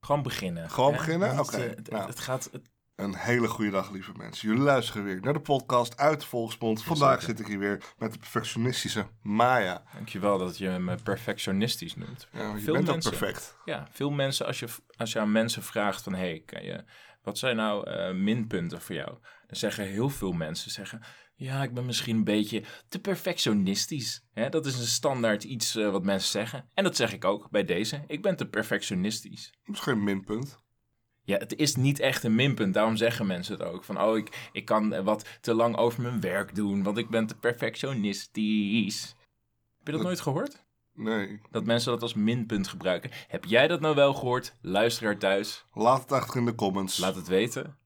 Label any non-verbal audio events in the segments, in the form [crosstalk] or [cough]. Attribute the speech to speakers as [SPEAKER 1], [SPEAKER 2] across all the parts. [SPEAKER 1] Gewoon beginnen.
[SPEAKER 2] Gewoon
[SPEAKER 1] hè?
[SPEAKER 2] beginnen?
[SPEAKER 1] Niet,
[SPEAKER 2] Oké,
[SPEAKER 1] eh, het,
[SPEAKER 2] nou.
[SPEAKER 1] het gaat. het-
[SPEAKER 2] Een hele goede dag, lieve mensen. Jullie luisteren weer naar de podcast uit de Volksmond. Vandaag
[SPEAKER 1] Jazeker.
[SPEAKER 2] zit ik hier weer met de perfectionistische Maya.
[SPEAKER 1] dankjewel dat je me perfectionistisch noemt.
[SPEAKER 2] Ja, je
[SPEAKER 1] Veel
[SPEAKER 2] bent
[SPEAKER 1] mensen.
[SPEAKER 2] ook perfect.
[SPEAKER 1] Ja, veel mensen, als je, als je aan mensen vraagt van... Hey, kan je, wat zijn nou eh, minpunten voor jou? Dan zeggen heel veel mensen, zeggen... Ja, ik ben misschien een beetje te perfectionistisch. Hè, dat is een standaard iets eh, wat mensen zeggen. En dat zeg ik ook bij deze. Ik ben te perfectionistisch.
[SPEAKER 2] Misschien een minpunt.
[SPEAKER 1] Ja, het is niet echt een minpunt. Daarom zeggen mensen het ook. Van, oh, ik, ik kan eh, wat te lang over mijn werk doen, want ik ben te perfectionistisch. Heb je dat nooit gehoord?
[SPEAKER 2] Nee.
[SPEAKER 1] Dat mensen dat als minpunt gebruiken. Heb jij dat nou wel gehoord? Luisteraar thuis,
[SPEAKER 2] Laat het achter in de comments.
[SPEAKER 1] laat het weten.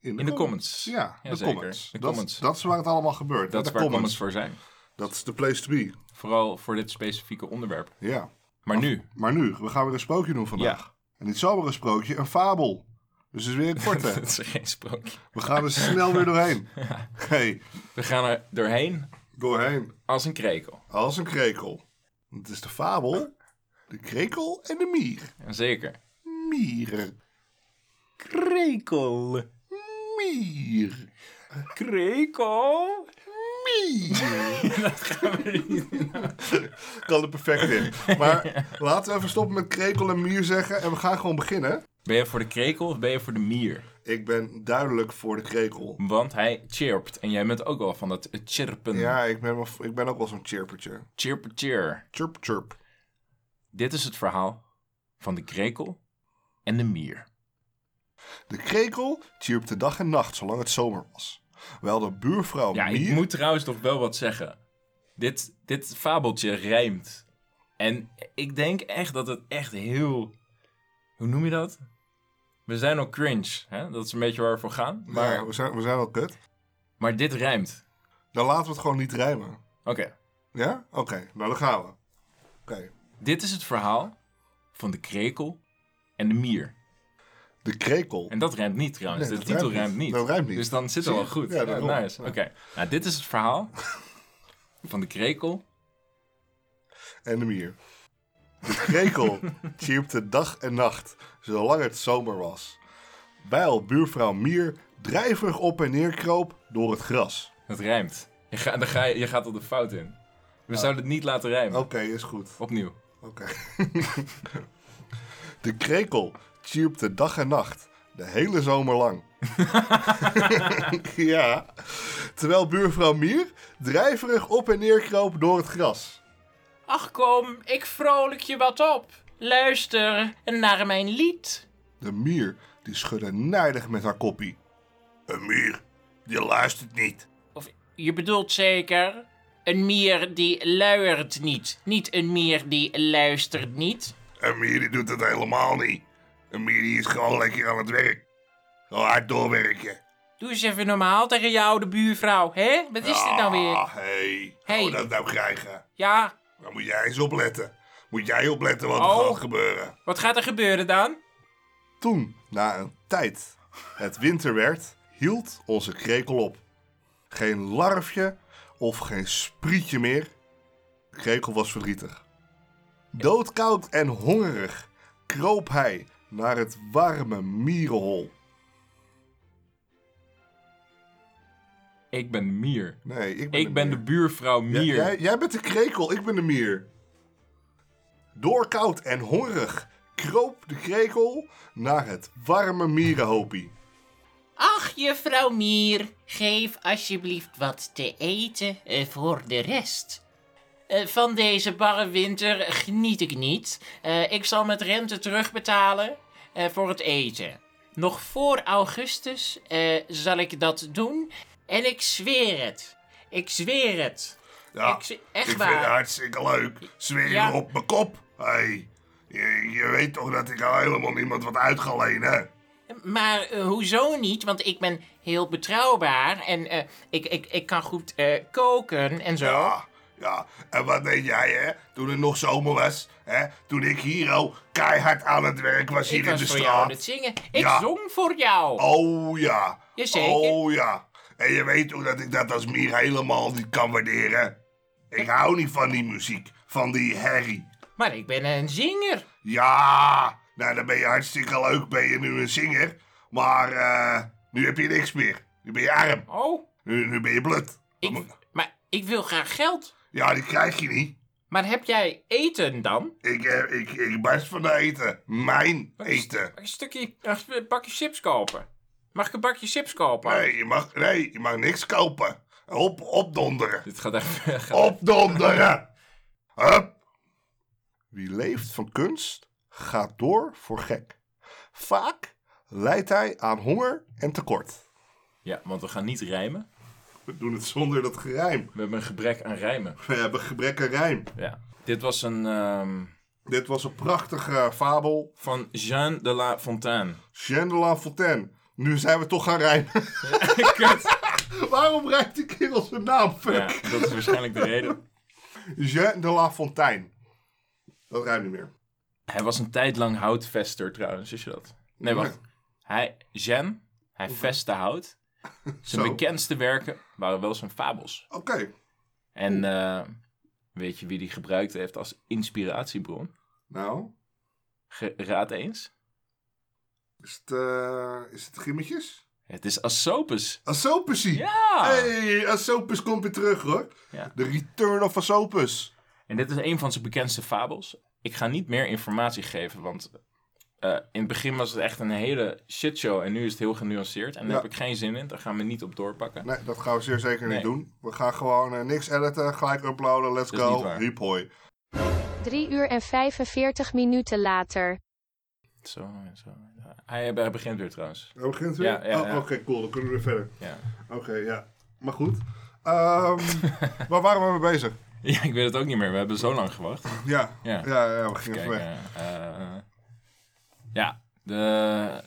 [SPEAKER 1] In de comments.
[SPEAKER 2] Ja, de
[SPEAKER 1] zeker.
[SPEAKER 2] comments.
[SPEAKER 1] De
[SPEAKER 2] dat,
[SPEAKER 1] comments.
[SPEAKER 2] dat is waar het allemaal gebeurt.
[SPEAKER 1] Dat is
[SPEAKER 2] de
[SPEAKER 1] waar comments
[SPEAKER 2] comments.
[SPEAKER 1] voor zijn.
[SPEAKER 2] Dat is de place to be.
[SPEAKER 1] Vooral voor dit specifieke onderwerp.
[SPEAKER 2] Ja.
[SPEAKER 1] Maar [laughs] nu,
[SPEAKER 2] Maar nu, we gaan weer een sprookje doen vandaag. En niet zomaar een sprookje, een fabel. Dus het is weer een
[SPEAKER 1] dat [laughs]
[SPEAKER 2] korte.
[SPEAKER 1] is geen sprookje.
[SPEAKER 2] we gaan er snel weer doorheen. Hey,
[SPEAKER 1] We gaan er doorheen
[SPEAKER 2] doorheen.
[SPEAKER 1] als een krekel.
[SPEAKER 2] Als een krekel. Het is de fabel, de krekel en de mier.
[SPEAKER 1] Zeker.
[SPEAKER 2] Mieren.
[SPEAKER 1] Krekel.
[SPEAKER 2] Mier.
[SPEAKER 1] Krekel. [laughs]
[SPEAKER 2] Mier. [laughs]
[SPEAKER 1] Dat gaan we niet doen.
[SPEAKER 2] kan er perfect in. Maar laten we even stoppen met krekel en mier zeggen en we gaan gewoon beginnen.
[SPEAKER 1] Ben je voor de krekel of ben je voor de mier?
[SPEAKER 2] Ik ben duidelijk voor de krekel.
[SPEAKER 1] Want hij chirpt. En jij bent ook wel van dat chirpen.
[SPEAKER 2] Ja, ik ben, wel- ik ben ook wel zo'n chirpertje.
[SPEAKER 1] Chirp, chir.
[SPEAKER 2] Chirp, chirp.
[SPEAKER 1] Dit is het verhaal van de krekel en de mier.
[SPEAKER 2] De krekel chirpte dag en nacht zolang het zomer was. Wel de buurvrouw
[SPEAKER 1] Ja,
[SPEAKER 2] mier...
[SPEAKER 1] ik moet trouwens nog wel wat zeggen. Dit, dit fabeltje rijmt. En ik denk echt dat het echt heel... Hoe noem je dat? We zijn al cringe. Hè? Dat is een beetje waar we voor gaan. Maar,
[SPEAKER 2] Ja, we zijn, we zijn wel kut.
[SPEAKER 1] maar dit rijmt.
[SPEAKER 2] Dan laten we het gewoon niet rijmen.
[SPEAKER 1] Oké.
[SPEAKER 2] Ja? Oké, nou dan gaan we. Oké.
[SPEAKER 1] Dit is het verhaal van de krekel en de mier.
[SPEAKER 2] De krekel.
[SPEAKER 1] En dat rijmt niet trouwens.
[SPEAKER 2] Nee,
[SPEAKER 1] de
[SPEAKER 2] dat
[SPEAKER 1] titel
[SPEAKER 2] rijmt
[SPEAKER 1] rijmt
[SPEAKER 2] niet.
[SPEAKER 1] niet.
[SPEAKER 2] Dat rijmt niet.
[SPEAKER 1] Dus dan zit het
[SPEAKER 2] Zie
[SPEAKER 1] wel
[SPEAKER 2] je?
[SPEAKER 1] goed.
[SPEAKER 2] Ja,
[SPEAKER 1] Ja,
[SPEAKER 2] daarom.
[SPEAKER 1] nice.
[SPEAKER 2] Ja.
[SPEAKER 1] Oké. Nou, dit is het verhaal van de krekel.
[SPEAKER 2] En de mier. De krekel chirpte dag en nacht, zolang het zomer was. Bijl buurvrouw Mier drijverig op en neer kroop door het gras.
[SPEAKER 1] Het rijmt. Je, ga, dan ga je, je gaat al de fout in. We
[SPEAKER 2] Oh.
[SPEAKER 1] zouden het niet laten rijmen.
[SPEAKER 2] Oké, is goed.
[SPEAKER 1] Opnieuw.
[SPEAKER 2] Oké. [laughs] de krekel chirpte dag en nacht, de hele zomer lang. [laughs] ja. Terwijl buurvrouw Mier drijverig op en neer kroop door het gras.
[SPEAKER 3] Ach kom, ik vrolijk je wat op. Luister naar mijn lied.
[SPEAKER 2] De mier die schudde nijdig met haar koppie. Een mier, die luistert niet.
[SPEAKER 3] Of je bedoelt zeker een mier die luiert niet. Niet een mier die luistert niet.
[SPEAKER 2] Een mier die doet het helemaal niet. Een mier die is gewoon lekker aan het werk. Gewoon hard doorwerken.
[SPEAKER 3] Doe eens even normaal tegen je oude buurvrouw, hè? Wat is dit nou weer?
[SPEAKER 2] Ah, hé.
[SPEAKER 3] Hey.
[SPEAKER 2] Hoe dat nou krijgen?
[SPEAKER 3] Ja,
[SPEAKER 2] Dan moet jij eens opletten. Moet jij opletten wat
[SPEAKER 3] Oh.
[SPEAKER 2] er gaat gebeuren.
[SPEAKER 3] wat gaat er gebeuren dan?
[SPEAKER 2] Toen, na een tijd, het winter werd, hield onze krekel op. Geen larfje of geen sprietje meer. De krekel was verdrietig. Doodkoud en hongerig kroop hij naar het warme mierenhol.
[SPEAKER 1] Ik ben mier.
[SPEAKER 2] Nee, ik ben,
[SPEAKER 1] Ik ben de buurvrouw
[SPEAKER 2] Jij-
[SPEAKER 1] mier.
[SPEAKER 2] Jij, jij bent de krekel, ik ben de mier. Doorkoud en hongerig kroop de krekel naar het warme mierenhopie.
[SPEAKER 3] Ach, juffrouw Mier, geef alsjeblieft wat te eten eh, voor de rest. Eh, van deze barre winter geniet ik niet. Eh, ik zal met rente terugbetalen eh, voor het eten. Nog voor augustus eh, zal ik dat doen. En ik zweer het. Ik zweer het.
[SPEAKER 2] Ja,
[SPEAKER 3] Ik zie- echt
[SPEAKER 2] ik vind
[SPEAKER 3] waar.
[SPEAKER 2] het hartstikke leuk. Zweer
[SPEAKER 3] Ja.
[SPEAKER 2] op mijn kop. Hey, je, je weet toch dat ik al helemaal niemand wat uit ga lenen? hè?
[SPEAKER 3] Maar eh, hoezo niet? Want ik ben heel betrouwbaar en eh, ik, ik, ik kan goed eh, koken en zo.
[SPEAKER 2] Ja, ja. En wat deed jij, hè? Toen het nog zomer was, hè? Toen ik hier al keihard aan het werk was hier
[SPEAKER 3] ik
[SPEAKER 2] in
[SPEAKER 3] was
[SPEAKER 2] de
[SPEAKER 3] voor jou aan
[SPEAKER 2] straat.
[SPEAKER 3] het zingen. Ik
[SPEAKER 2] Ja.
[SPEAKER 3] zong voor jou.
[SPEAKER 2] Oh ja.
[SPEAKER 3] Jazeker.
[SPEAKER 2] Oh ja. En je weet hoe dat ik dat als mier helemaal niet kan waarderen. Ik hou niet van die muziek, van die herrie.
[SPEAKER 3] Maar ik ben een zinger.
[SPEAKER 2] Ja, Nou, dan ben je hartstikke leuk, ben je nu een zinger. Maar eh, nu heb je niks meer. Nu ben je arm.
[SPEAKER 1] Oh,
[SPEAKER 2] Nu, nu ben je blut.
[SPEAKER 3] Ik, maar ik wil graag geld.
[SPEAKER 2] Ja, die krijg je niet.
[SPEAKER 1] maar heb jij eten dan?
[SPEAKER 2] Ik, eh, ik, ik barst van de eten. Mijn eten.
[SPEAKER 1] Mag ik Een stukje, een bakje chips kopen. Mag ik een bakje chips kopen?
[SPEAKER 2] Nee, je mag, nee, je mag niks kopen. Op, opdonderen.
[SPEAKER 1] Dit gaat echt... [laughs] gaat-
[SPEAKER 2] Opdonderen! Hup! Wie leeft van kunst, gaat door voor gek. Vaak leidt hij aan honger en tekort.
[SPEAKER 1] Ja, want we gaan niet rijmen.
[SPEAKER 2] We doen het zonder dat gerijm.
[SPEAKER 1] We hebben een gebrek aan rijmen.
[SPEAKER 2] eh, We hebben gebrek aan rijm.
[SPEAKER 1] Ja. Dit was een... ehm,
[SPEAKER 2] Dit was een prachtige eh, fabel.
[SPEAKER 1] van Jean de La
[SPEAKER 2] [laughs]
[SPEAKER 1] Fontaine.
[SPEAKER 2] Jean de La Fontaine. Nu zijn we toch gaan rijmen. [laughs]
[SPEAKER 1] Kut.
[SPEAKER 2] Waarom rijmt die kerel zijn naam?
[SPEAKER 1] Ja,
[SPEAKER 2] Fuck.
[SPEAKER 1] dat is waarschijnlijk de reden.
[SPEAKER 2] Jean de La Fontaine. Dat rijmt niet meer.
[SPEAKER 1] Hij was een tijd lang houtvester trouwens, is je dat? Nee, wacht. Hij, Jean, hij vestte hout.
[SPEAKER 2] [laughs]
[SPEAKER 1] Zijn
[SPEAKER 2] Zo.
[SPEAKER 1] bekendste werken waren wel zijn fabels.
[SPEAKER 2] Oké.
[SPEAKER 1] En eh, weet je wie die gebruikt heeft als inspiratiebron?
[SPEAKER 2] Nou,
[SPEAKER 1] Ge- raad eens.
[SPEAKER 2] is het, eh, is het gimmetjes?
[SPEAKER 1] Het is Asopus.
[SPEAKER 2] Asopusy.
[SPEAKER 1] Ja!
[SPEAKER 2] Hey, Asopus komt weer terug hoor.
[SPEAKER 1] Ja.
[SPEAKER 2] De return of Asopus.
[SPEAKER 1] En dit is een van zijn bekendste fabels. Ik ga niet meer informatie geven, want eh, in het begin was het echt een hele shitshow. En nu is het heel genuanceerd. En daar
[SPEAKER 2] Ja.
[SPEAKER 1] heb ik geen zin in. Daar gaan we niet op doorpakken.
[SPEAKER 2] Nee, dat gaan we zeer zeker
[SPEAKER 1] Nee.
[SPEAKER 2] niet doen. We gaan gewoon eh, niks editen, gelijk uploaden, let's
[SPEAKER 1] Dat is niet
[SPEAKER 2] go.
[SPEAKER 1] waar.
[SPEAKER 2] Hiep hoi.
[SPEAKER 4] 3 uur en 45 minuten later.
[SPEAKER 1] Zo, zo. Hij, hij begint weer trouwens.
[SPEAKER 2] Hij begint weer?
[SPEAKER 1] Ja, ja,
[SPEAKER 2] Oh,
[SPEAKER 1] ja.
[SPEAKER 2] Oké, cool. Dan kunnen we weer verder.
[SPEAKER 1] Ja. [laughs]
[SPEAKER 2] Oké, ja. Maar goed. Ehm, waar waren we mee bezig?
[SPEAKER 1] ja, ik weet het ook niet meer. We hebben zo lang gewacht.
[SPEAKER 2] Ja,
[SPEAKER 1] Ja.
[SPEAKER 2] ja, ja, we gingen even
[SPEAKER 1] Kijk,
[SPEAKER 2] weg.
[SPEAKER 1] eh, eh, ja, de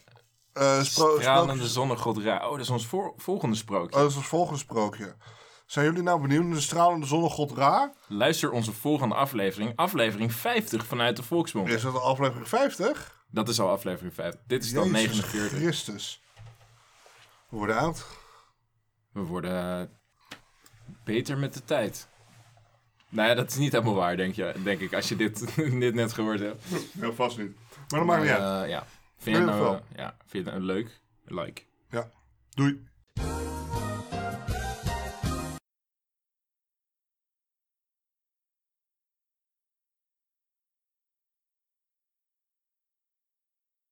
[SPEAKER 2] Eh, spro-
[SPEAKER 1] stralende
[SPEAKER 2] sprookjes-
[SPEAKER 1] zonnegod Ra. Oh, dat is ons voor- volgende
[SPEAKER 2] Oh,
[SPEAKER 1] sprookje.
[SPEAKER 2] dat is ons volgende sprookje. Zijn jullie nou benieuwd naar de stralende zonnegod Ra?
[SPEAKER 1] Luister onze volgende aflevering, aflevering 50 vanuit de Volksmond.
[SPEAKER 2] Is dat de aflevering 50?
[SPEAKER 1] Dat is al aflevering 50. Dit is dan
[SPEAKER 2] Jezus
[SPEAKER 1] 49.
[SPEAKER 2] Christus. We worden oud.
[SPEAKER 1] We worden eh, beter met de tijd. Nou ja, dat is niet helemaal waar, denk, je, denk ik, als je dit, [laughs] dit net gehoord hebt.
[SPEAKER 2] Heel vast niet. Maar dat maakt niet uit.
[SPEAKER 1] Eh, ja. Vind je,
[SPEAKER 2] In
[SPEAKER 1] het nou,
[SPEAKER 2] ieder
[SPEAKER 1] ja. Vind je het nou leuk? Like.
[SPEAKER 2] Ja. Doei.